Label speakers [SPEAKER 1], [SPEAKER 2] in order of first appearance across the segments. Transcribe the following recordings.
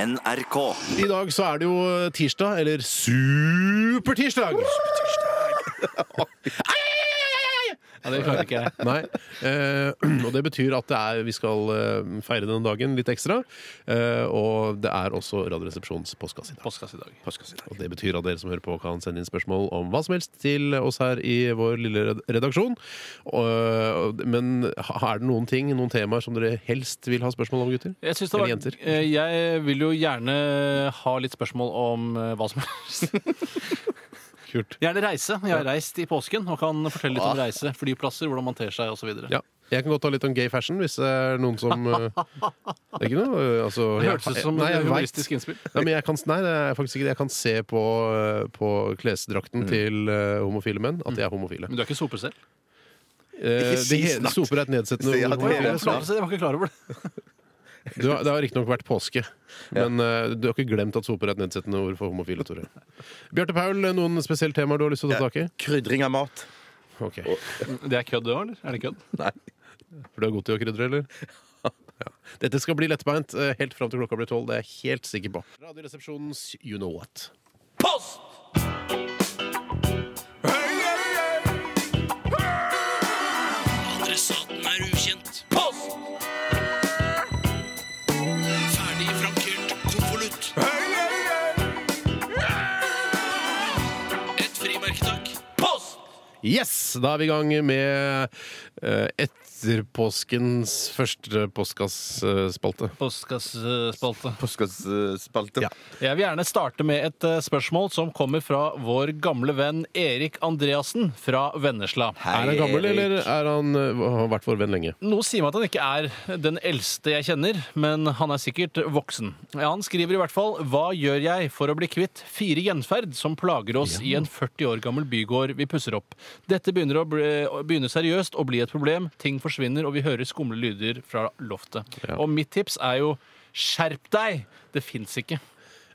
[SPEAKER 1] NRK.
[SPEAKER 2] I dag så er det jo eh, tirsdag, eller supertirsdag.
[SPEAKER 3] Ja, det klarer ikke jeg.
[SPEAKER 2] Nei. Eh, og det betyr at det er, vi skal eh, feire denne dagen litt ekstra. Eh, og det er også Radioresepsjonens postkasse i dag.
[SPEAKER 3] Postkasse i dag.
[SPEAKER 2] Og det betyr at dere som hører på, kan sende inn spørsmål om hva som helst til oss her i vår lille red- redaksjon. Og, men er det noen ting, noen temaer som dere helst vil ha spørsmål om, gutter?
[SPEAKER 3] Jeg, synes det
[SPEAKER 2] Eller
[SPEAKER 3] var,
[SPEAKER 2] jenter.
[SPEAKER 3] Eh, jeg vil jo gjerne ha litt spørsmål om eh, hva som helst.
[SPEAKER 2] Kult.
[SPEAKER 3] Gjerne reise. Jeg har reist i påsken og kan fortelle litt om
[SPEAKER 1] Ah.
[SPEAKER 3] reise. Flyplasser, hvordan man ter seg osv.
[SPEAKER 2] Ja. Jeg kan godt ta litt om gay fashion, hvis det er noen som eh, Det er ikke noe eh, altså,
[SPEAKER 3] Det hørtes ut som
[SPEAKER 2] Nei, jeg
[SPEAKER 3] et
[SPEAKER 2] vet.
[SPEAKER 3] humoristisk innspill.
[SPEAKER 2] Nei, men jeg kan, nei, det er faktisk ikke det. Jeg kan se på, eh, på klesdrakten til eh, homofile menn at de er homofile.
[SPEAKER 3] Mm. Men du er ikke soper selv?
[SPEAKER 2] Eh,
[SPEAKER 1] Ikke si
[SPEAKER 2] det he-
[SPEAKER 1] snakk.
[SPEAKER 2] Soper er et nedsettende
[SPEAKER 1] Si at
[SPEAKER 2] ord.
[SPEAKER 1] det er-
[SPEAKER 2] homofile.
[SPEAKER 3] Jeg var ikke klar over det.
[SPEAKER 2] Du har, det har riktignok vært påske, men eh, du har ikke glemt at soper er et nedsettende ord for homofile, Tore. Bjarte Paul, eh, noen spesielle temaer du har lyst til å ta tak i?
[SPEAKER 1] Krydring av mat.
[SPEAKER 2] Ok,
[SPEAKER 3] Det er kødd, det òg, eller? Er det kødd?
[SPEAKER 1] Nei.
[SPEAKER 2] For du er god til å krydre, eller? Ja. Dette skal bli lettbeint eh, helt fram til klokka blir tolv. Det er jeg helt sikker på. Radioresepsjonens You Know What.
[SPEAKER 1] Post!
[SPEAKER 4] Adressaten er ukjent. Post! Ferdig frankert konvolutt. Et frimerke, takk. Post!
[SPEAKER 2] Yes! Da er vi i gang med eh, etterpåskens første postkassespalte.
[SPEAKER 3] Postkassespalte.
[SPEAKER 1] Postkassspalte.
[SPEAKER 2] Ja.
[SPEAKER 3] Jeg vil gjerne starte med et eh, spørsmål som kommer fra vår gamle venn Erik Andreassen fra Vennesla.
[SPEAKER 1] Hei,
[SPEAKER 2] Er han gammel,
[SPEAKER 1] Erik.
[SPEAKER 2] eller er han, eh, har han vært vår venn lenge?
[SPEAKER 3] Noe sier meg at han ikke er den eldste jeg kjenner, men han er sikkert voksen. Ja, han skriver i hvert fall 'Hva gjør jeg for å bli kvitt fire gjenferd som plager oss i en 40 år gammel bygård vi pusser opp'? Dette begynner, å bli, begynner seriøst å bli et problem. Ting forsvinner, og vi hører skumle lyder fra loftet. Og mitt tips er jo 'skjerp deg'! Det fins ikke.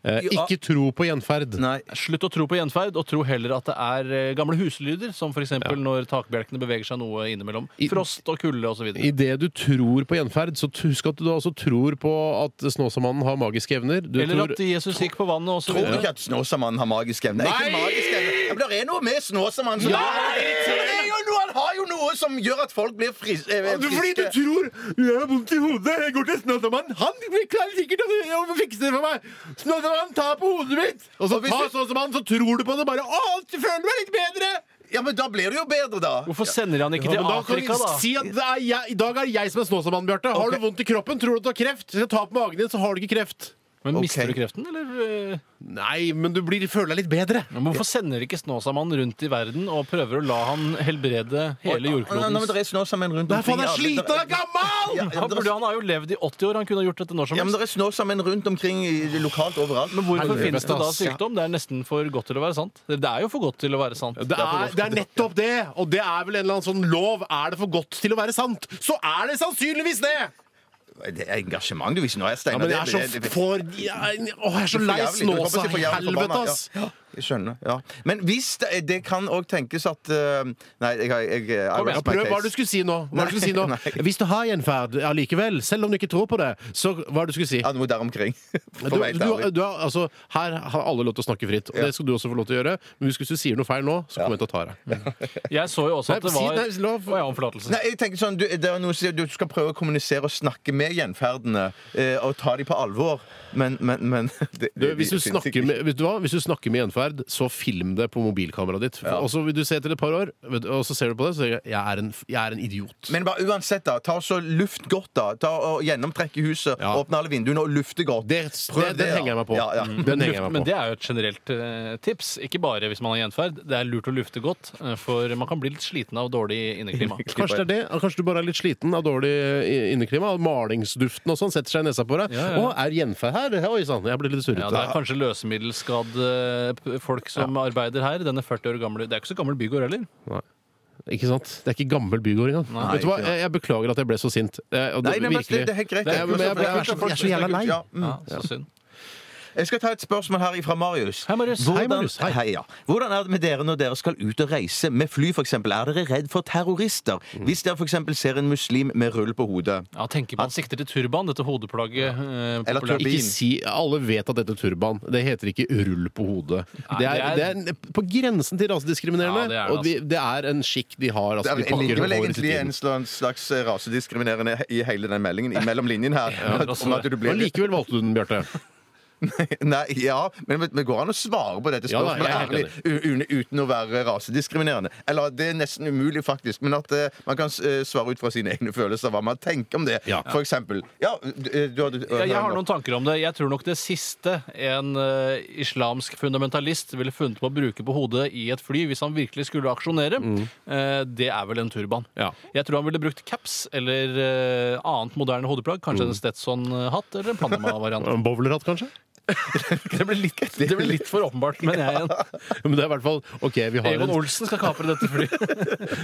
[SPEAKER 2] Eh, ikke tro på gjenferd.
[SPEAKER 1] Nei.
[SPEAKER 3] Slutt å tro på gjenferd, og tro heller at det er eh, gamle huslyder, som f.eks. eksempel når takbjelkene beveger seg noe innimellom.
[SPEAKER 2] I-
[SPEAKER 3] Frost og kulde osv.
[SPEAKER 2] Idet du tror på gjenferd, så t- husk at du da også tror på at Snåsamannen har magiske evner. Du
[SPEAKER 3] Eller
[SPEAKER 2] tror
[SPEAKER 3] at Jesus gikk på vannet osv.
[SPEAKER 1] Tror ikke at Snåsamannen har magisk evne. Ikke magisk evne. Ja, men det er noe med Snåsamannen som
[SPEAKER 3] Ja, det
[SPEAKER 1] det er jo noe, Han har jo noe som gjør at folk blir fris, eh, friske.
[SPEAKER 2] tror jeg har vondt i hodet, jeg går til Snåsamannen. Han klarer sikkert å fikse det for meg. Snåsamannen tar på hodet mitt, og så tar Snåsamannen, så tror du på det bare. Å, føler du deg litt bedre?
[SPEAKER 1] Ja, men da blir det jo bedre, da.
[SPEAKER 3] Hvorfor sender han ikke
[SPEAKER 2] Ja, men
[SPEAKER 3] til
[SPEAKER 2] da kan
[SPEAKER 3] Afrika,
[SPEAKER 2] vi
[SPEAKER 3] da?
[SPEAKER 2] si at det er jeg, I dag er det jeg som er Snåsamannen, Bjarte. Har
[SPEAKER 3] Ok.
[SPEAKER 2] du vondt i kroppen, tror du at du har kreft, så ta på magen din, så har du ikke kreft.
[SPEAKER 3] Men
[SPEAKER 1] Ok.
[SPEAKER 3] Mister du kreften, eller? eh?
[SPEAKER 2] Nei, men du blir, føler deg litt bedre.
[SPEAKER 3] Men hvorfor sender ikke Snåsamannen rundt i verden og prøver å la han helbrede hele
[SPEAKER 1] Nei, men
[SPEAKER 3] jordklodens
[SPEAKER 1] det er Snåsamannen rundt
[SPEAKER 2] Nei, faen, jeg er
[SPEAKER 1] i alle-
[SPEAKER 2] sliten, jeg er gammel!
[SPEAKER 1] Ja,
[SPEAKER 3] ja,
[SPEAKER 1] ja, men
[SPEAKER 3] burde,
[SPEAKER 1] det er-
[SPEAKER 3] Han har jo levd i 80 år, han kunne ha gjort dette når som
[SPEAKER 1] ja, men
[SPEAKER 3] helst.
[SPEAKER 1] det er Snåsamannen rundt omkring i, lokalt overalt.
[SPEAKER 3] Men hvorfor
[SPEAKER 2] Helvete,
[SPEAKER 3] finnes det da
[SPEAKER 2] ass.
[SPEAKER 3] sykdom? Det er nesten for godt til å være sant. Det er jo for godt til å være sant.
[SPEAKER 2] Det er, det er nettopp det, og det er vel en eller annen sånn lov. Er det for godt til å være sant, så er det sannsynligvis det!
[SPEAKER 1] Det er engasjement du viser nå, jeg,
[SPEAKER 2] Ja,
[SPEAKER 1] Steinar.
[SPEAKER 2] men jeg er
[SPEAKER 1] Det-
[SPEAKER 2] så
[SPEAKER 1] det- det-
[SPEAKER 2] for jeg, Åh, jeg er så lei
[SPEAKER 1] jævlig. Du kommer
[SPEAKER 2] snåsa.
[SPEAKER 1] til å få jævlig
[SPEAKER 2] Helvete,
[SPEAKER 1] forbanna,
[SPEAKER 2] ass!
[SPEAKER 1] Ja. Jeg skjønner. ja Men hvis det, det kan òg tenkes at eh, Nei, jeg, jeg, jeg, I
[SPEAKER 2] Kom igjen,
[SPEAKER 1] rest my
[SPEAKER 2] prøv hva
[SPEAKER 1] case.
[SPEAKER 2] du skulle si nå. Hva du skulle si nå.
[SPEAKER 1] Nei, nei.
[SPEAKER 2] Hvis du har gjenferd allikevel, selv om du ikke tror på det, så hva er det du skulle si?
[SPEAKER 1] Ja, noe der omkring.
[SPEAKER 2] Du,
[SPEAKER 1] For meg,
[SPEAKER 2] du,
[SPEAKER 1] ærlig.
[SPEAKER 2] du, har- altså, her har alle lov til å snakke fritt, og
[SPEAKER 1] Ja.
[SPEAKER 2] det skal du også få lov til å gjøre. Men hvis du sier noe feil nå, så kommer jeg til å ta deg.
[SPEAKER 3] Jeg så jo også at
[SPEAKER 2] Nei,
[SPEAKER 3] det
[SPEAKER 2] si-
[SPEAKER 3] var
[SPEAKER 2] nei, lov.
[SPEAKER 3] Å, ja, om forlatelse.
[SPEAKER 1] Nei, jeg tenker sånn, du, det er noe, som sier at du skal prøve å kommunisere og snakke med gjenferdene eh, og ta dem på alvor, men, men, men det,
[SPEAKER 2] Du,
[SPEAKER 1] det-
[SPEAKER 2] hvis, du
[SPEAKER 1] det finnes
[SPEAKER 2] snakker
[SPEAKER 1] ikke.
[SPEAKER 2] med, vet du hva? hvis du snakker med gjenferd, så film det på mobilkameraet ditt. Og så vil du se etter et par år, vet du, og så ser du på det, så sier du jeg er en, jeg er en idiot.
[SPEAKER 1] Men bare uansett, da. Ta så luft godt, da. Ta og Gjennomtrekk i huset.
[SPEAKER 2] Ja.
[SPEAKER 1] Åpne alle vinduene og lufte godt.
[SPEAKER 2] det,
[SPEAKER 1] Prøv det,
[SPEAKER 2] det, den
[SPEAKER 1] ja.
[SPEAKER 2] henger jeg meg på.
[SPEAKER 1] Ja, ja.
[SPEAKER 2] Mm, Den henger jeg
[SPEAKER 3] Luft,
[SPEAKER 2] meg
[SPEAKER 3] men
[SPEAKER 2] på.
[SPEAKER 3] det er jo et generelt eh, tips, ikke bare hvis man har gjenferd. Det er lurt å lufte godt, eh, for man kan bli litt sliten av dårlig inneklima.
[SPEAKER 2] Kanskje det er det? Kanskje du bare er litt sliten av dårlig eh, i- inneklima? Av malingsduften og sånn setter seg i nesa på deg.
[SPEAKER 3] Ja, ja.
[SPEAKER 2] Å, er gjenferd her? Oi sann, jeg blir litt surrete.
[SPEAKER 3] Ja, det er kanskje løsemiddelskadde p- folk som arbeider her. Denne 40 år gamle Det er jo ikke så gammel bygård heller.
[SPEAKER 2] Ikke sant? Det er ikke gammel bygård engang. Vet du hva?
[SPEAKER 1] ikke sant.
[SPEAKER 2] Jeg, jeg beklager at jeg ble så sint. Eh, og det-
[SPEAKER 1] Nei, nei, men det,
[SPEAKER 2] virkelig.
[SPEAKER 1] det er helt greit.
[SPEAKER 2] Det er- men jeg- jeg- jeg- jeg er så jævla lei.
[SPEAKER 1] Ja, mm.
[SPEAKER 3] Ja, så synd.
[SPEAKER 1] Jeg skal ta et spørsmål her fra Marius.
[SPEAKER 3] Hei, Marius.
[SPEAKER 1] Hvordan,
[SPEAKER 2] Hei, Marius. Hei.
[SPEAKER 1] ja. Hvordan er det med dere når dere skal ut og reise med fly, f.eks.? Er dere redd for terrorister? Hvis dere f.eks. ser en muslim med rull på hodet.
[SPEAKER 3] Ja, tenker man sikter til turban, dette hodeplagget. eh,
[SPEAKER 1] Eller
[SPEAKER 3] populært.
[SPEAKER 1] turbin.
[SPEAKER 2] Ikke si, Alle vet at dette er turban. Det heter ikke rull på hodet. Det er, det
[SPEAKER 3] det
[SPEAKER 2] er på grensen til rasediskriminerende.
[SPEAKER 3] Ja, det er det, altså.
[SPEAKER 2] og vi, det er en skikk de har.
[SPEAKER 1] Det
[SPEAKER 2] Altså,
[SPEAKER 1] er
[SPEAKER 2] de pakker
[SPEAKER 1] likevel
[SPEAKER 2] håret sitt
[SPEAKER 1] egentlig en
[SPEAKER 2] inn.
[SPEAKER 1] slags slags rasediskriminerende i hele den meldingen, i mellom linjen her.
[SPEAKER 3] også
[SPEAKER 1] Om at du blir
[SPEAKER 2] Men likevel valgte du den, Bjarte.
[SPEAKER 1] Nei, ja, men det går an å svare på dette
[SPEAKER 2] Ja da,
[SPEAKER 1] spørsmålet
[SPEAKER 2] jeg er helt
[SPEAKER 1] ærlig u- un- uten å være rasediskriminerende. Eller det er nesten umulig, faktisk. Men at eh, man kan s- eh, svare ut fra sine egne følelser hva man tenker om det.
[SPEAKER 2] Ja.
[SPEAKER 1] For eksempel ja, du, du, hadde-
[SPEAKER 3] Ja, jeg har noen tanker om det. Jeg tror nok det siste en eh, islamsk fundamentalist ville funnet på å bruke på hodet i et fly hvis han virkelig skulle aksjonere, eh, det er vel en turban.
[SPEAKER 2] Ja.
[SPEAKER 3] Jeg tror han ville brukt caps eller eh, annet moderne hodeplagg. Kanskje en Stetson-hatt eller en Panama-variant.
[SPEAKER 2] En Bowlerhatt, kanskje?
[SPEAKER 3] Det ble litt, det ble litt for åpenbart, mener jeg. igjen.
[SPEAKER 2] Men det er i hvert fall OK, vi har,
[SPEAKER 3] Egon
[SPEAKER 2] en,
[SPEAKER 3] Olsen skal kapre dette flyet.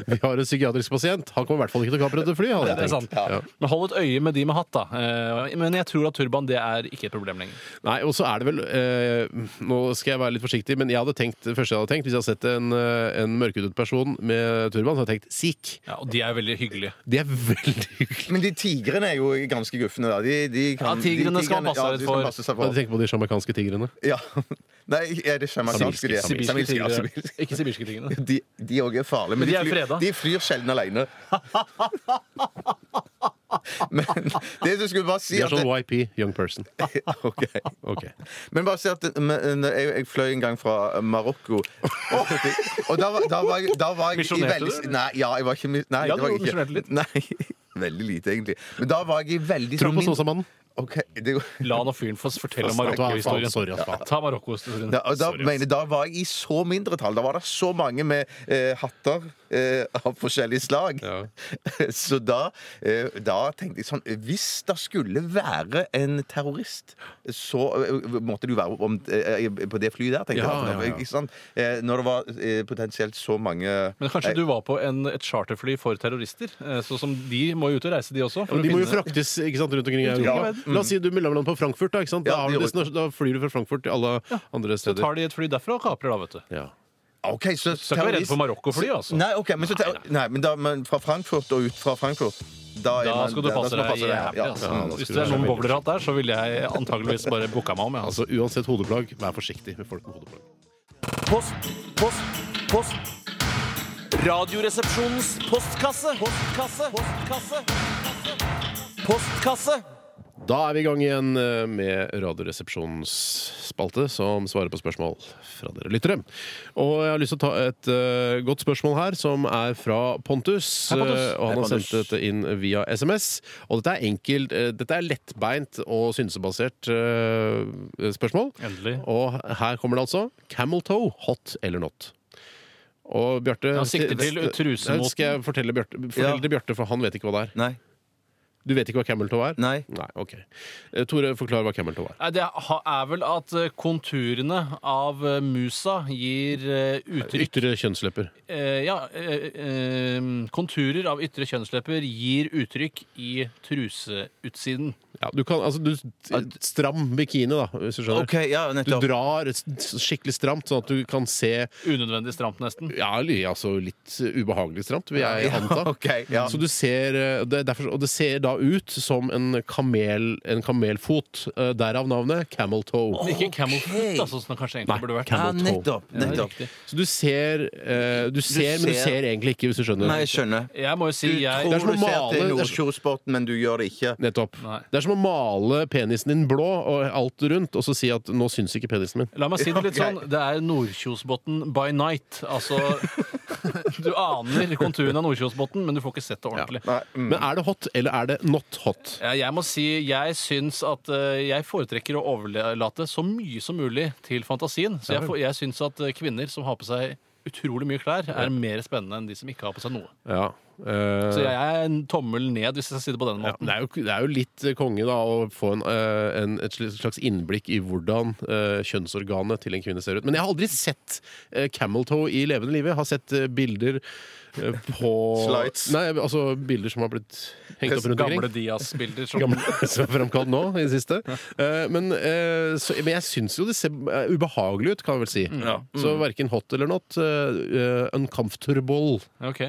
[SPEAKER 2] vi har en psykiatrisk pasient. Han kommer i hvert fall ikke til å kapre dette flyet. hadde jeg
[SPEAKER 3] Det er
[SPEAKER 2] tenkt.
[SPEAKER 3] sant. Men hold et øye med de med hatt, da. Eh, Men jeg tror at turban det er ikke et problem lenger.
[SPEAKER 2] Nei, og så er det vel eh, Nå skal jeg være litt forsiktig, men jeg hadde tenkt, det første jeg hadde tenkt hvis jeg hadde sett en, eh, en mørkhudet person med turban, så hadde jeg tenkt sikh.
[SPEAKER 3] Ja, og de er veldig hyggelige.
[SPEAKER 2] Det er veldig hyggelig.
[SPEAKER 1] Men de tigrene er jo ganske gufne, da. De, de kan,
[SPEAKER 3] Ja, tigrene skal man passe
[SPEAKER 1] ja,
[SPEAKER 3] litt
[SPEAKER 1] de skal
[SPEAKER 3] for.
[SPEAKER 1] passe seg
[SPEAKER 2] Jeg
[SPEAKER 1] for.
[SPEAKER 2] tenker på de sjamaikanske tigrene.
[SPEAKER 1] Ja. Nei, er det sjamanske de er?
[SPEAKER 3] Sibirske
[SPEAKER 1] Samiske, ja,
[SPEAKER 3] tigre.
[SPEAKER 1] sibirske.
[SPEAKER 3] Eh, Ikke sibirske tingene.
[SPEAKER 1] De de òg er farlige, men
[SPEAKER 3] Men de
[SPEAKER 1] de,
[SPEAKER 3] er freda.
[SPEAKER 1] flyr, de flyr sjelden alene. Men det du skulle bare si
[SPEAKER 2] De
[SPEAKER 1] at
[SPEAKER 2] er sånn YP, young person.
[SPEAKER 1] Ok.
[SPEAKER 2] Ok.
[SPEAKER 1] Men bare si at men, eh, jeg, jeg fløy en gang fra eh, Marokko. Og da, var- da var jeg, da var jeg i
[SPEAKER 3] Misjonerte
[SPEAKER 1] veldig
[SPEAKER 3] du?
[SPEAKER 1] Nei, ja, jeg var ikke mis- Nei,
[SPEAKER 3] Ja,
[SPEAKER 1] det var
[SPEAKER 3] du
[SPEAKER 1] jeg
[SPEAKER 3] misjonerte litt.
[SPEAKER 1] ikke. Nei, veldig lite, egentlig. Men da var jeg i veldig sånn
[SPEAKER 2] Tro på
[SPEAKER 3] sånn
[SPEAKER 1] min-
[SPEAKER 2] Såsamannen.
[SPEAKER 1] Ok, det går-
[SPEAKER 3] La nå fyren få fortelle om
[SPEAKER 2] Sorry,
[SPEAKER 3] Marokko-historien.
[SPEAKER 2] sorry, ass, faen.
[SPEAKER 3] Ta Marokko-historien.
[SPEAKER 1] da, og da,
[SPEAKER 2] Sorry, ass.
[SPEAKER 1] mener, jeg, da var jeg i så mindretall. Da var det så mange med eh, hatter eh, av forskjellige slag. Så da, eh, da tenkte jeg sånn Hvis det skulle være en terrorist, så eh, måtte det jo være om, eh, på det flyet der, tenkte
[SPEAKER 2] Ja,
[SPEAKER 1] jeg.
[SPEAKER 2] ja, ja.
[SPEAKER 1] Ikke sant? Eh, når det var eh, potensielt så mange
[SPEAKER 3] Men kanskje du var på en, et charterfly for terrorister? eh, Så som de må jo ut og reise, de også. for å
[SPEAKER 2] De må jo
[SPEAKER 3] finne-
[SPEAKER 2] fraktes ikke sant, rundt omkring i Europa. La oss si du mellomlander på Frankfurt. Da, ikke sant? Da,
[SPEAKER 1] Ja,
[SPEAKER 2] har
[SPEAKER 1] det
[SPEAKER 2] du
[SPEAKER 1] gjør
[SPEAKER 2] destinasjon- da flyr du fra Frankfurt til alle andre
[SPEAKER 3] Så
[SPEAKER 2] steder.
[SPEAKER 3] tar de et fly derfra og kaprer, da, vet du.
[SPEAKER 2] Ja.
[SPEAKER 1] Ah, Ok, så
[SPEAKER 3] Så er ikke redd
[SPEAKER 1] terrorist-
[SPEAKER 3] for Marokko-fly, altså.
[SPEAKER 1] Nei, ok, men, så, nei, nei. men, da, men fra Frankfurt og ut fra Frankfurt Da, er
[SPEAKER 3] Da
[SPEAKER 1] man-
[SPEAKER 3] skal du
[SPEAKER 1] da- da
[SPEAKER 3] passe
[SPEAKER 1] man Ja,
[SPEAKER 3] deg jævlig. Altså.
[SPEAKER 1] ja, da
[SPEAKER 3] Hvis
[SPEAKER 1] skal
[SPEAKER 3] det
[SPEAKER 1] du-
[SPEAKER 3] er noen bowlerhatt der, så ville jeg antageligvis bare booka meg om. jeg, Altså.
[SPEAKER 2] Altså, uansett hodeplagg, vær forsiktig med folk med hodeplagg.
[SPEAKER 5] Post, post, post. Radioresepsjonens postkasse. Postkasse. Postkasse. Postkasse.
[SPEAKER 2] Da er vi i gang igjen eh, med Radioresepsjonens spalte, som svarer på spørsmål fra dere lyttere. Og jeg har lyst til å ta et eh, godt spørsmål her, som er fra Pontus.
[SPEAKER 3] Hei, Pontus.
[SPEAKER 2] Eh, og han
[SPEAKER 3] Hei,
[SPEAKER 2] har sendt dette inn via SMS. Og dette er enkelt, eh, dette er lettbeint og synsebasert eh, spørsmål.
[SPEAKER 3] Endelig.
[SPEAKER 2] Og her kommer det altså. Camel toe, hot eller not? Og Bjarte
[SPEAKER 3] Han sikter til trusemoten.
[SPEAKER 2] Skal jeg fortelle Bjarte, fortell
[SPEAKER 1] Ja.
[SPEAKER 2] til Bjarte, for han vet ikke hva det er.
[SPEAKER 1] Nei,
[SPEAKER 2] Du vet ikke hva camel toe er?
[SPEAKER 1] Nei.
[SPEAKER 2] Nei, ok. Eh, Tore, forklar hva camel toe er.
[SPEAKER 3] Nei, Det ha- er vel at eh, konturene av eh, musa gir eh, uttrykk
[SPEAKER 2] Ytre kjønnslepper.
[SPEAKER 3] eh, Ja, eh, eh, konturer av ytre kjønnslepper gir uttrykk i truseutsiden.
[SPEAKER 2] Ja, du kan, altså, du, stram bikini, da, hvis du skjønner.
[SPEAKER 1] ok, ja,
[SPEAKER 2] Du
[SPEAKER 1] nettopp
[SPEAKER 2] drar s- s- skikkelig stramt, sånn at du kan se
[SPEAKER 3] Unødvendig stramt, nesten.
[SPEAKER 2] ja, li- altså litt eh, ubehagelig stramt, vil jeg anta.
[SPEAKER 1] ok, ja.
[SPEAKER 2] Så du ser, eh, det, er derfor, og det ser da ut som en, kamel, en kamelfot. eh, Derav navnet camel toe.
[SPEAKER 3] Ikke camel foot, altså, som det kanskje egentlig
[SPEAKER 2] Nei,
[SPEAKER 3] burde vært.
[SPEAKER 1] Ja,
[SPEAKER 2] camel toe.
[SPEAKER 1] nettopp,
[SPEAKER 3] Ja, det er
[SPEAKER 1] nettopp
[SPEAKER 3] riktig.
[SPEAKER 2] Så du ser, eh, du ser, men du
[SPEAKER 1] ser-
[SPEAKER 2] ser egentlig ikke, hvis du skjønner.
[SPEAKER 1] Nei, jeg skjønner
[SPEAKER 3] Jeg må jo si
[SPEAKER 1] Du
[SPEAKER 3] jeg
[SPEAKER 2] det er
[SPEAKER 1] tror
[SPEAKER 2] som å
[SPEAKER 1] du ser
[SPEAKER 2] male-
[SPEAKER 1] til Nordkjosbotn, men du gjør det ikke.
[SPEAKER 2] Nettopp.
[SPEAKER 3] Nei.
[SPEAKER 2] Det er som å male penisen din blå og alt rundt, og så si at 'nå syns ikke penisen min'.
[SPEAKER 3] La meg si det litt
[SPEAKER 1] Ja,
[SPEAKER 3] sånn. Det er Nordkjosbotn by night. Altså Du aner konturen av Nordkjosbotn, men du får ikke sett det ordentlig.
[SPEAKER 1] Nei, mm.
[SPEAKER 2] Men er det hot, eller er det not hot?
[SPEAKER 3] Ja, Jeg må si jeg syns at eh, jeg foretrekker å overlate så mye som mulig til fantasien. Så jeg, får- jeg syns at eh, kvinner som har på seg utrolig mye klær, er mer spennende enn de som ikke har på seg noe.
[SPEAKER 2] Ja. Eh,
[SPEAKER 3] Så jeg er en tommel ned, hvis jeg skal si det på den
[SPEAKER 2] ja,
[SPEAKER 3] måten.
[SPEAKER 2] det, er jo, det er jo litt eh, konge da å få en, eh, en, et sli- slags innblikk i hvordan eh, kjønnsorganet til en kvinne ser ut. Men jeg har aldri sett eh, camel toe i levende live. Jeg har sett eh, bilder eh, på
[SPEAKER 1] Slides.
[SPEAKER 2] Nei, altså bilder som har blitt hengt opp rundt omkring.
[SPEAKER 3] Gamle Dias-bilder. som-
[SPEAKER 2] Gamle som er fremkalt nå i det siste. Eh, men, eh, så, men jeg syns jo det ser eh, ubehagelig ut, kan jeg vel si.
[SPEAKER 1] Mm.
[SPEAKER 2] Så verken hot eller not. eh, eh, uncomfortable.
[SPEAKER 3] Ok.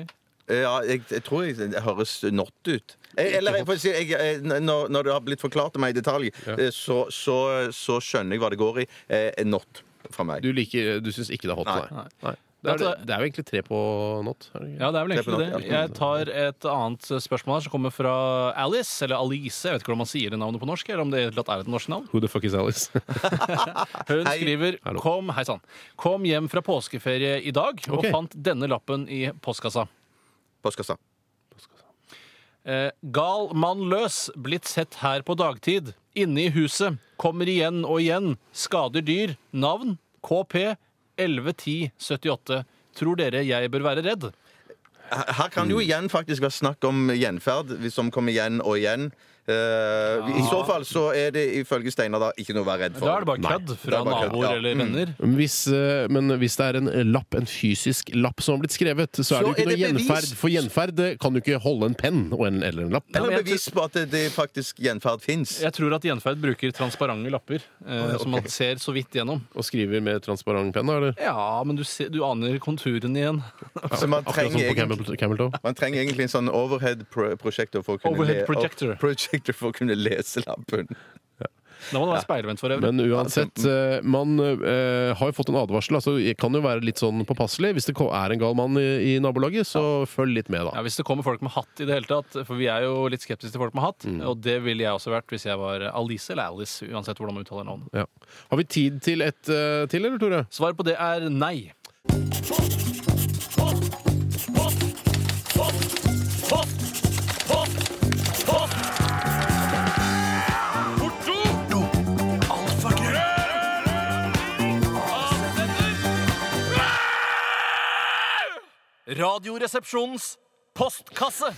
[SPEAKER 1] Ja, jeg, jeg tror jeg, det høres not ut. Jeg, eller jeg får si, jeg, jeg, når, når det har blitt forklart til meg i detalj, eh, så, så, så skjønner jeg hva det går i. Eh, not fra meg.
[SPEAKER 2] Du, liker- du syns ikke det er hot,
[SPEAKER 1] Nei.
[SPEAKER 2] nei. nei. Det, er, det er jo egentlig tre på not. Er det ikke?
[SPEAKER 3] Ja, det er vel
[SPEAKER 1] Det er på
[SPEAKER 3] egentlig det.
[SPEAKER 1] nok, ja.
[SPEAKER 3] Jeg tar et annet spørsmål her som kommer fra Alice, eller Alice, jeg vet ikke hvordan man sier det navnet på norsk, eller om det i det hele tatt er et norsk navn.
[SPEAKER 2] Who the fuck is Alice?
[SPEAKER 3] Hun
[SPEAKER 1] Hei.
[SPEAKER 3] skriver
[SPEAKER 2] Hallo.
[SPEAKER 3] kom, hei sann, kom hjem fra påskeferie i dag og
[SPEAKER 2] Ok.
[SPEAKER 3] fant denne lappen i postkassa.
[SPEAKER 1] Postkassa.
[SPEAKER 3] Eh, gal mann løs, blitt sett her på dagtid. Inne i huset. Kommer igjen og igjen. Skader dyr. Navn KP 111078. Tror dere jeg bør være redd?
[SPEAKER 1] Her her kan
[SPEAKER 2] Mm.
[SPEAKER 1] jo igjen faktisk være snakk om gjenferd, hvis som kommer igjen og igjen. Eh, I så fall så er det ifølge Steinar da ikke noe å være redd for.
[SPEAKER 3] Da er det bare
[SPEAKER 2] Nei.
[SPEAKER 3] kødd fra
[SPEAKER 1] Det er bare kødd,
[SPEAKER 3] naboer
[SPEAKER 1] ja. Mm.
[SPEAKER 3] eller venner.
[SPEAKER 2] Hvis, eh, men hvis det er en lapp, en fysisk lapp som har blitt skrevet, så er det jo
[SPEAKER 1] Så
[SPEAKER 2] ikke
[SPEAKER 1] er
[SPEAKER 2] noe
[SPEAKER 1] det bevis.
[SPEAKER 2] gjenferd. For gjenferd eh, kan du ikke holde en penn og en, eller en lapp.
[SPEAKER 1] Eller
[SPEAKER 3] men jeg
[SPEAKER 1] bevis på at det, det faktisk gjenferd fins.
[SPEAKER 3] Jeg tror at gjenferd bruker transparente lapper, eh, som man ser så vidt gjennom.
[SPEAKER 2] Og skriver med transparent penn, da, eller?
[SPEAKER 3] Ja, men du, ser, du aner konturen igjen.
[SPEAKER 1] Så man
[SPEAKER 2] Akkurat
[SPEAKER 1] trenger
[SPEAKER 2] som Sånn på
[SPEAKER 1] egentlig
[SPEAKER 2] Camel, camel Toe.
[SPEAKER 1] man trenger egentlig en sånn overhead-prosjektor for, å kunne
[SPEAKER 3] Overhead
[SPEAKER 1] le-
[SPEAKER 3] projector.
[SPEAKER 1] projector for å kunne lese lappen.
[SPEAKER 3] Da må det være speilvendt for øvrig.
[SPEAKER 2] Men uansett, eh, man eh, har jo fått en advarsel. Altså, jeg kan jo være litt sånn påpasselig. Hvis det ko- er en gal mann i, i nabolaget, så følg litt med,
[SPEAKER 3] Ja,
[SPEAKER 2] da.
[SPEAKER 3] hvis det kommer folk med hatt i det hele tatt, for vi er jo litt skeptiske til folk med hatt,
[SPEAKER 1] Mm.
[SPEAKER 3] og det ville jeg også vært hvis jeg var Alice eller Alice, uansett hvordan man uttaler navnet.
[SPEAKER 2] Ja. Har vi tid til et eh, til, eller, Tore?
[SPEAKER 3] Svaret på det er nei.
[SPEAKER 5] Radioresepsjonens postkasse.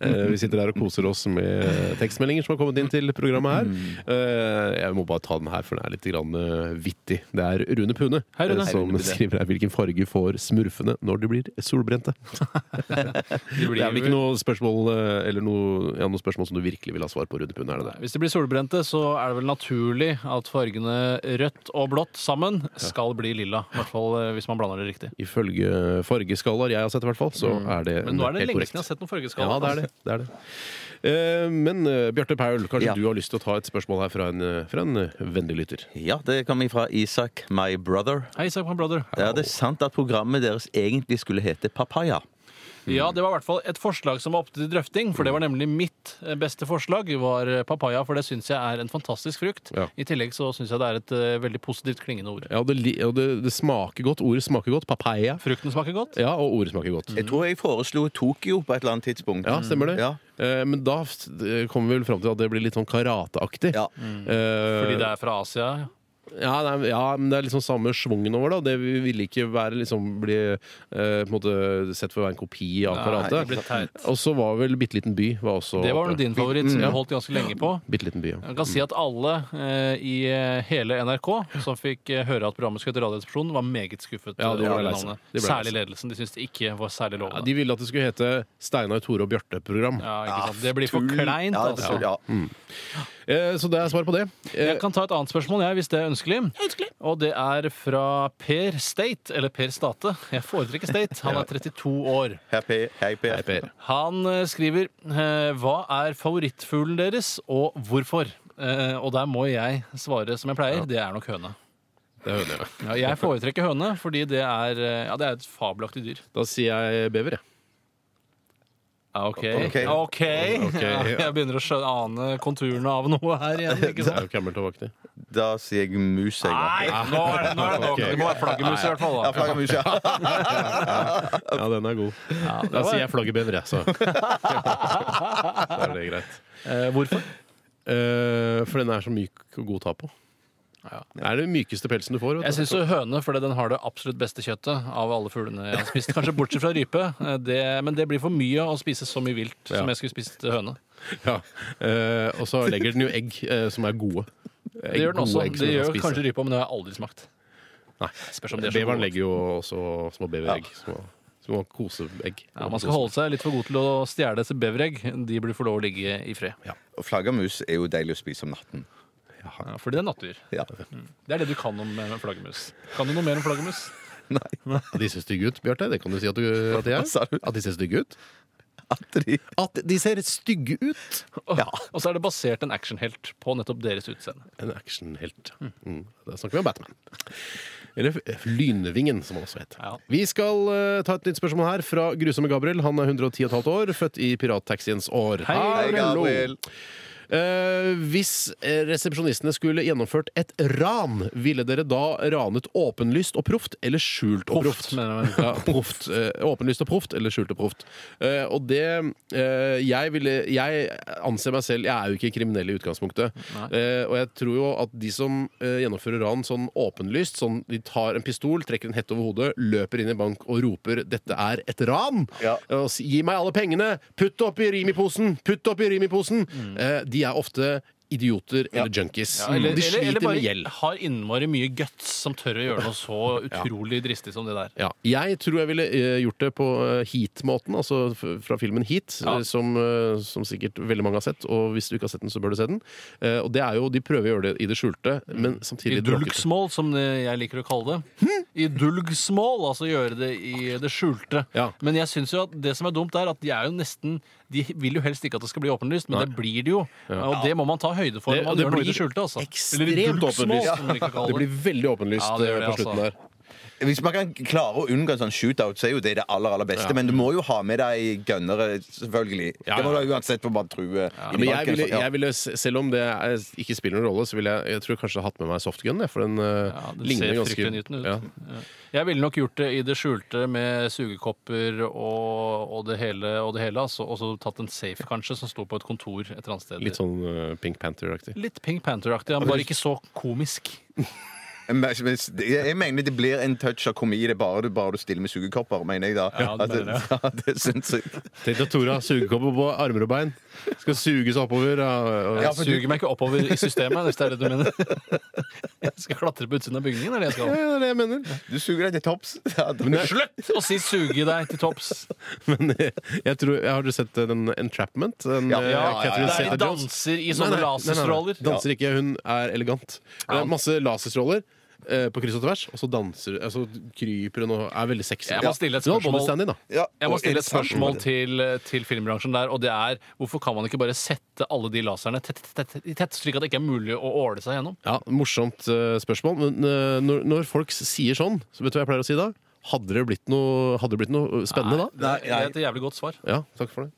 [SPEAKER 2] Eh, vi sitter her og koser oss med eh, tekstmeldinger som har kommet inn til programmet her. Eh, jeg må bare ta den her, for den er litt grann, eh, vittig. Det er Rune Pune
[SPEAKER 3] Hei, Rune.
[SPEAKER 2] eh, som
[SPEAKER 1] Hei, Rune Pune.
[SPEAKER 2] skriver her hvilken farge får smurfene når de blir solbrente. Det er vel ikke noe spørsmål, eh, eller noe, ja, noe spørsmål som du virkelig vil ha svar på, Rune Pune? Er det det?
[SPEAKER 3] Hvis det blir solbrente, så er det vel naturlig at fargene rødt og blått sammen skal bli lilla. I hvert fall eh, hvis man blander det riktig.
[SPEAKER 2] Ifølge fargeskallaer jeg har sett, i hvert fall, så er det,
[SPEAKER 3] Mm. Men nå er det
[SPEAKER 2] helt
[SPEAKER 3] lenge
[SPEAKER 2] korrekt.
[SPEAKER 3] siden jeg har sett noen
[SPEAKER 2] Ja,
[SPEAKER 3] fargeskaller.
[SPEAKER 2] det er det. det, er det. Eh, men eh, Bjarte Paul, kanskje
[SPEAKER 1] Ja.
[SPEAKER 2] du har lyst til å ta et spørsmål her fra en, eh, fra en eh, vennlig lytter?
[SPEAKER 1] Ja, det kommer fra Isak, my brother.
[SPEAKER 3] Hei, Isak, my brother.
[SPEAKER 1] Ja, det er sant at programmet deres egentlig skulle hete Papaya.
[SPEAKER 3] Ja, det var i hvert fall et forslag som var oppe til drøfting, for det var nemlig mitt eh, beste forslag, var eh, papaya, for det syns jeg er en fantastisk frukt.
[SPEAKER 2] Ja.
[SPEAKER 3] I tillegg så syns jeg det er et eh, veldig positivt klingende ord.
[SPEAKER 2] Ja, og det, li- og det, det smaker godt. Ordet smaker godt. Papaya.
[SPEAKER 3] Frukten smaker godt.
[SPEAKER 2] Ja, og ordet smaker godt.
[SPEAKER 1] Jeg tror jeg foreslo Tokyo på et eller annet tidspunkt.
[SPEAKER 2] Ja, stemmer
[SPEAKER 3] Mm,
[SPEAKER 2] det.
[SPEAKER 1] Ja.
[SPEAKER 2] Eh, men da f- eh, kommer vi vel fram til at det blir litt sånn karateaktig.
[SPEAKER 1] Ja.
[SPEAKER 3] Mm. Fordi
[SPEAKER 2] Eh,
[SPEAKER 3] det er fra Asia.
[SPEAKER 2] ja, nei, ja, men det er liksom samme schwungen over det. og Det vi- ville ikke være liksom bli eh, på en måte sett for å være en kopi av karate.
[SPEAKER 3] det blir teit.
[SPEAKER 2] Og så var vel Bitte liten by var også
[SPEAKER 3] Det var
[SPEAKER 2] oppe. Mm.
[SPEAKER 3] nå din favoritt, som du holdt ganske lenge på.
[SPEAKER 2] Bitte liten by, ja.
[SPEAKER 3] Jeg kan si at alle eh, i eh, hele NRK som fikk eh, høre at programmet skulle hete Radioresepsjonen, var meget skuffet.
[SPEAKER 2] Ja, de ble
[SPEAKER 3] over
[SPEAKER 2] lei
[SPEAKER 3] det
[SPEAKER 2] seg.
[SPEAKER 3] navnet.
[SPEAKER 2] De ble lei
[SPEAKER 3] Særlig
[SPEAKER 2] seg.
[SPEAKER 3] ledelsen. De syntes det ikke var
[SPEAKER 2] Ja,
[SPEAKER 3] særlig lovende.
[SPEAKER 2] de ville at det skulle hete Steinar, Tore og Bjarte-program.
[SPEAKER 3] Ja, ikke sant? Det blir for kleint,
[SPEAKER 1] Ja,
[SPEAKER 3] altså.
[SPEAKER 1] ja.
[SPEAKER 2] Eh, så det er svar på det. Eh,
[SPEAKER 3] Jeg kan ta et annet spørsmål, jeg, hvis det er ønskelig. Og det er fra Per State, eller Per State. Jeg foretrekker State. Han er 32 år.
[SPEAKER 1] Hei, Per. Hei, Per.
[SPEAKER 2] Per.
[SPEAKER 3] Han eh, skriver eh, Hva er favorittfuglen deres, og hvorfor? Eh, Og der må jeg svare som jeg pleier. Det er nok høne.
[SPEAKER 2] Det hører jeg.
[SPEAKER 3] Ja, jeg foretrekker høne, fordi det er, eh, ja, det er et fabelaktig dyr.
[SPEAKER 2] Da sier jeg bever, jeg.
[SPEAKER 3] OK. OK.
[SPEAKER 1] Ok.
[SPEAKER 3] Ja, jeg begynner å skjønne, ane konturene av noe her igjen. Ikke
[SPEAKER 2] Det er
[SPEAKER 3] sant?
[SPEAKER 2] jo Camel Toe-aktig.
[SPEAKER 1] Da sier jeg mus, jeg. da.
[SPEAKER 3] Nei, nå er det nå er det nok. Det må være flaggermus i hvert fall.
[SPEAKER 1] Ja,
[SPEAKER 3] da.
[SPEAKER 1] flaggermus, ja.
[SPEAKER 2] Ja, den er god. da sier jeg flaggerbever, jeg, så. da er det greit.
[SPEAKER 3] Eh, Hvorfor?
[SPEAKER 2] Eh, for den er så myk og god å ta på. Det er den mykeste pelsen du får.
[SPEAKER 3] Jeg
[SPEAKER 2] Vet du.
[SPEAKER 3] syns jo høne, fordi den har det absolutt beste kjøttet av alle fuglene jeg har spist. Kanskje bortsett fra rype, eh, det, men det blir for mye å spise så mye vilt
[SPEAKER 2] Ja.
[SPEAKER 3] som jeg skulle spist høne.
[SPEAKER 2] Ja. Eh, og så legger den jo egg eh, som er gode.
[SPEAKER 3] Det gjør den også. Det gjør kanskje
[SPEAKER 2] det.
[SPEAKER 3] rypa, men det har jeg aldri smakt.
[SPEAKER 2] Nei.
[SPEAKER 3] Spørs om de er så
[SPEAKER 2] Beveren
[SPEAKER 3] gode.
[SPEAKER 2] legger jo også små beveregg. Små, små koseegg.
[SPEAKER 3] Ja, man skal holde seg litt for god til å stjele etter beveregg. De burde få lov å ligge i fred.
[SPEAKER 1] Og flaggermus er jo deilig å spise om natten.
[SPEAKER 3] Ja, fordi det er nattdyr.
[SPEAKER 1] Ja.
[SPEAKER 3] Det er det du kan om eh, flaggermus. Kan du noe mer om flaggermus?
[SPEAKER 1] Nei,
[SPEAKER 2] At de ser stygge ut, Bjarte. Det kan du si at, du, at de er.
[SPEAKER 1] Hva sa du?
[SPEAKER 2] At de ser stygge ut.
[SPEAKER 1] at de
[SPEAKER 2] At de ser stygge ut!
[SPEAKER 3] Og, og så er det basert en actionhelt på nettopp deres utseende.
[SPEAKER 2] En actionhelt. Mm. Da snakker vi om Batman. Eller F- Lynvingen, som han også het.
[SPEAKER 3] Ja.
[SPEAKER 2] Vi skal eh, ta et nytt spørsmål her fra grusomme Gabriel. Han er 110,5 år, født i pirattaxiens år.
[SPEAKER 3] Hei,
[SPEAKER 1] Hei,
[SPEAKER 2] hallo.
[SPEAKER 1] Gabriel.
[SPEAKER 2] Eh, hvis eh, resepsjonistene skulle gjennomført et ran, ville dere da ranet åpenlyst og proft eller skjult og proft?
[SPEAKER 3] Proft, mener jeg.
[SPEAKER 2] Ja, proft. Eh, åpenlyst og proft eller skjult og proft. Eh, og det eh, jeg, ville, jeg anser meg selv Jeg er jo ikke kriminell i utgangspunktet. Eh, og jeg tror jo at de som eh, gjennomfører ran sånn åpenlyst, sånn de tar en pistol, trekker en hette over hodet, løper inn i bank og roper 'dette er et ran',
[SPEAKER 1] Ja.
[SPEAKER 2] og s- 'gi meg alle pengene', 'putt det opp i Rimi-posen', 'putt det opp i Rimi-posen', eh, de er ofte idioter eller junkies.
[SPEAKER 3] Mm. Eller,
[SPEAKER 2] de sliter
[SPEAKER 3] eller, eller
[SPEAKER 2] med gjeld.
[SPEAKER 3] bare har innmari mye guts som tør å gjøre noe så utrolig dristig som det der.
[SPEAKER 2] Ja. Jeg tror jeg ville eh, gjort det på eh, Heat-måten, altså f- fra filmen Heat,
[SPEAKER 3] Ja.
[SPEAKER 2] eh, som, eh, som sikkert veldig mange har sett. Og hvis du ikke har sett den, så bør du se den. Eh, og det er jo, De prøver å gjøre det i det skjulte, men
[SPEAKER 3] I
[SPEAKER 2] samtidig bråkete.
[SPEAKER 3] dulgsmål, som eh, jeg liker å kalle det. I dulgsmål, altså gjøre det i det skjulte.
[SPEAKER 2] Ja.
[SPEAKER 3] Men jeg synes jo at det som er dumt, er at de er jo nesten De vil jo helst ikke at det skal bli åpenlyst, men det blir det jo. Og det må man ta høyde for
[SPEAKER 2] Det-
[SPEAKER 3] når man
[SPEAKER 2] det
[SPEAKER 3] gjør noe i
[SPEAKER 2] blir
[SPEAKER 3] det skjulte. Altså.
[SPEAKER 2] ekstremt
[SPEAKER 3] Eller i dulgsmål,
[SPEAKER 2] åpenlyst.
[SPEAKER 3] som de liker å kalle
[SPEAKER 2] Det blir veldig åpenlyst
[SPEAKER 3] Ja, det gjør
[SPEAKER 2] eh,
[SPEAKER 3] det,
[SPEAKER 2] på slutten
[SPEAKER 3] altså.
[SPEAKER 2] der.
[SPEAKER 1] Hvis man kan klare å unngå en sånn shootout, så er jo det det aller aller beste. Men du må jo ha med deg gunnere, selvfølgelig.
[SPEAKER 2] Ja,
[SPEAKER 1] Det må
[SPEAKER 2] ja.
[SPEAKER 1] du ha uansett på bare true. i
[SPEAKER 2] Men
[SPEAKER 1] marken,
[SPEAKER 2] jeg
[SPEAKER 1] altså.
[SPEAKER 2] ville,
[SPEAKER 1] så- ja.
[SPEAKER 2] jeg ville, s- selv om det er, ikke spiller noen rolle, så ville jeg, jeg tror jeg kanskje hatt med meg softgun. jeg, For den, eh,
[SPEAKER 3] Ja, den
[SPEAKER 2] ligner
[SPEAKER 3] ser
[SPEAKER 2] ganske
[SPEAKER 3] fryktelig nytende ut.
[SPEAKER 2] Ja.
[SPEAKER 3] Ja. Jeg ville nok gjort det i det skjulte med sugekopper og, og det hele. Og det hele altså. Og så tatt en safe, kanskje, som sto på et kontor et eller annet sted.
[SPEAKER 2] Litt sånn eh, Pink Panther-aktig.
[SPEAKER 3] Litt Pink Panther-aktig, men bare ikke så komisk.
[SPEAKER 1] Men- men det- Jeg mener det blir en touch av komi i det bare du, bare du stiller med sugekopper, mener jeg da.
[SPEAKER 3] Ja, det
[SPEAKER 1] At det,
[SPEAKER 3] mener jeg.
[SPEAKER 1] ja, det syns jeg.
[SPEAKER 2] Tenk deg Tora, sugekopper på armer og bein. Skal suges oppover. ja, og-
[SPEAKER 1] Ja,
[SPEAKER 3] Jeg
[SPEAKER 1] for du-
[SPEAKER 3] suger meg ikke oppover i systemet, hvis det er det du mener. Jeg skal klatre på utsiden av bygningen, er det jeg
[SPEAKER 2] Ja,
[SPEAKER 3] skal.
[SPEAKER 2] det er det jeg mener.
[SPEAKER 1] Du suger deg til topps. Ja, det-
[SPEAKER 3] Slutt å si 'suge deg til topps'.
[SPEAKER 2] Men jeg, jeg tror, jeg har du sett eh, den Entrapment? Den,
[SPEAKER 1] Ja,
[SPEAKER 2] eh,
[SPEAKER 1] ja, ja,
[SPEAKER 2] Catherine
[SPEAKER 1] ja,
[SPEAKER 3] Der de
[SPEAKER 2] Zeta-Jones?
[SPEAKER 3] danser i
[SPEAKER 2] Nei, nei,
[SPEAKER 3] sånne
[SPEAKER 2] nei, nei, nei.
[SPEAKER 3] laserstråler.
[SPEAKER 2] Danser ikke, hun er elegant. Det er masse laserstråler. eh, På kryss og tvers, og så danser altså, kryper hun og er veldig sexy.
[SPEAKER 3] Jeg må stille et
[SPEAKER 2] Hun har
[SPEAKER 3] spørsmål.
[SPEAKER 2] bodystandy, da.
[SPEAKER 1] Ja,
[SPEAKER 3] Jeg må
[SPEAKER 1] og
[SPEAKER 3] stille et
[SPEAKER 1] interessant.
[SPEAKER 3] spørsmål til, til filmbransjen der, og det er hvorfor kan man ikke bare sette alle de laserne tett, tett, tett, i tett slik at det ikke er mulig å åle seg gjennom?
[SPEAKER 2] Ja, Morsomt eh, spørsmål. Men eh, når, når folk sier sånn, så vet du hva jeg pleier å si da? Hadde det blitt noe, hadde det blitt noe eh, spennende da?
[SPEAKER 1] Nei,
[SPEAKER 3] Det er et jævlig godt svar.
[SPEAKER 2] Ja, takk for det.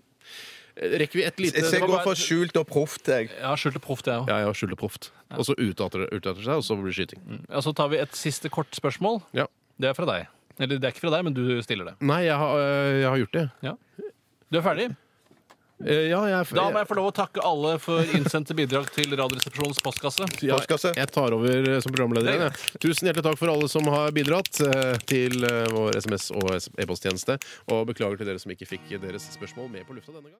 [SPEAKER 2] Eh, Rekker vi et lite
[SPEAKER 1] Jeg skal gå for skjult og proft, jeg.
[SPEAKER 3] Jeg har skjult det proft, jeg òg.
[SPEAKER 2] Ja, ja, skjulter proft. Og så utdater det utdater det seg, og så blir det skyting.
[SPEAKER 3] Ja, så tar vi et siste kort spørsmål.
[SPEAKER 2] Ja.
[SPEAKER 3] Det er fra deg. Eller det er ikke fra deg, men du stiller det.
[SPEAKER 2] Nei, jeg har, øh, jeg har gjort det.
[SPEAKER 3] Ja. Du er ferdig?
[SPEAKER 2] Eh, Ja, jeg,
[SPEAKER 3] Da må jeg få lov å takke alle for innsendte bidrag til Radioresepsjonens postkasse.
[SPEAKER 2] Ja,
[SPEAKER 1] Postkasse.
[SPEAKER 2] jeg tar over eh, som programleder igjen. jeg. Tusen hjertelig takk for alle som har bidratt eh, til eh, vår SMS- og e-posttjeneste. Og beklager til dere som ikke fikk deres spørsmål med på lufta denne gang.